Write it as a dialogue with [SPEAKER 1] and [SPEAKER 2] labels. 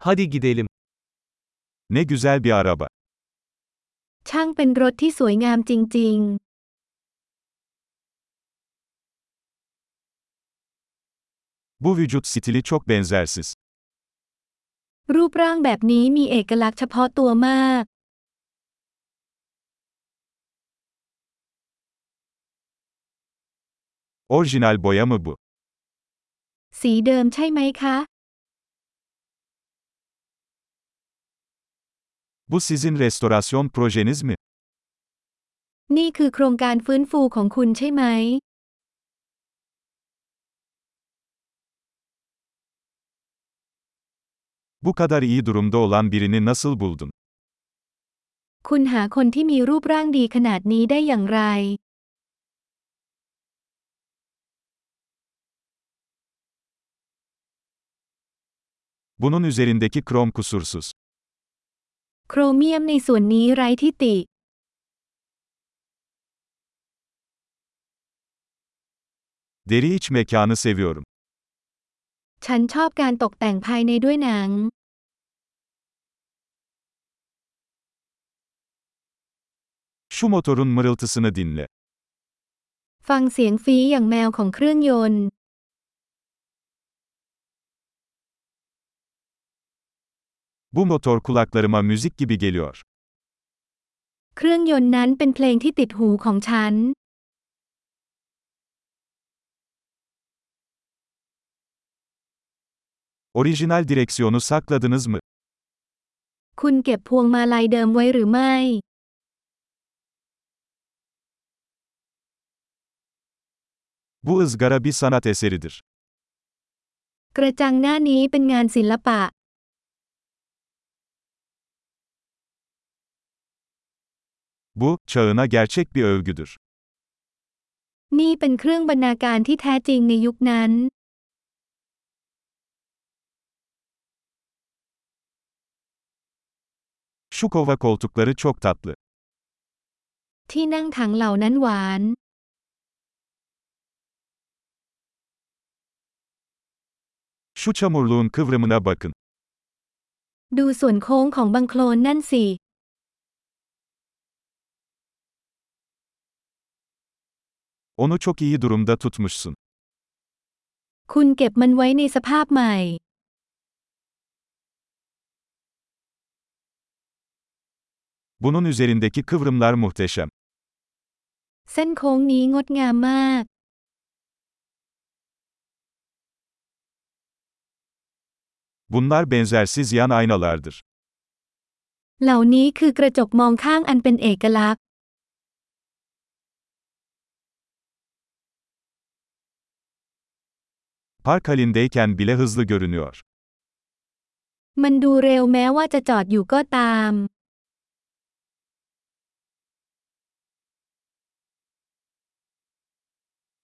[SPEAKER 1] Hadi gidelim. Ne güzel bir araba.
[SPEAKER 2] ช่างเป็นรถที่สวยงามจริง
[SPEAKER 1] Bu vücut stili çok benzersiz.
[SPEAKER 2] ๆ รูปร่างแบบนี้มีเอกลักษณ์เฉพาะตัวมาก
[SPEAKER 1] Orijinal boya mı bu?
[SPEAKER 2] สีเดิมใช่ไหมคะ
[SPEAKER 1] Bu sizin restorasyon projeniz mi?
[SPEAKER 2] นี่คือโครงการฟื้นฟูของคุณใช่ไหม
[SPEAKER 1] Bu kadar iyi durumda olan birini nasıl buldun?
[SPEAKER 2] คุณหาคนที่มีรูปร่างดีขนาดนี้ได้อย่างไร
[SPEAKER 1] Bunun üzerindeki krom kusursuz.
[SPEAKER 2] โครเมียมในส่วนนี้ไร้ที่ติ
[SPEAKER 1] Deri iç mekanı seviyorum.
[SPEAKER 2] ฉันชอบการตกแต่งภายในด้วยหนัง
[SPEAKER 1] Şu motorun mırıltısını dinle.
[SPEAKER 2] ฟังเสียงฟีอย่างแมวของเครื่องยนต์
[SPEAKER 1] Bu motor kulaklarıma müzik gibi geliyor.
[SPEAKER 2] เครื่องยนต์นั้นเป็นเพลงที่ติดหูของฉัน
[SPEAKER 1] Orijinal direksiyonu sakladınız mı?
[SPEAKER 2] คุณเก็บพวงมาลัยเดิมไว้หรือไม่
[SPEAKER 1] Bu ızgara bir sanat eseridir.
[SPEAKER 2] กระจังหน้านี้เป็นงานศิลปะ
[SPEAKER 1] Bu, çağına gerçek bir övgüdür.
[SPEAKER 2] นี่เป็นเครื่องบรรณาการที่แท้จริงในยุคนั้น
[SPEAKER 1] Şu kova koltukları çok tatlı.
[SPEAKER 2] ที่นั่งถังเหล่านั้นหวาน
[SPEAKER 1] Şu çamurluğun kıvrımına bakın.
[SPEAKER 2] ดูส่วนโค้งของบังโคลนนั่นสิ
[SPEAKER 1] Onu çok iyi durumda tutmuşsun.
[SPEAKER 2] คุณเก็บมันไว้ในสภาพใหม่
[SPEAKER 1] Bunun üzerindeki kıvrımlar muhteşem.
[SPEAKER 2] เส้นโค้งนี้งดงามมาก
[SPEAKER 1] Bunlar benzersiz yan aynalardır.
[SPEAKER 2] เหล่านี้คือกระจกมองข้างอันเป็นเอกลักษณ์
[SPEAKER 1] Park halindeyken bile hızlı görünüyor.
[SPEAKER 2] มันดูเร็วแม้ว่าจะจอดอยู่ก็ตาม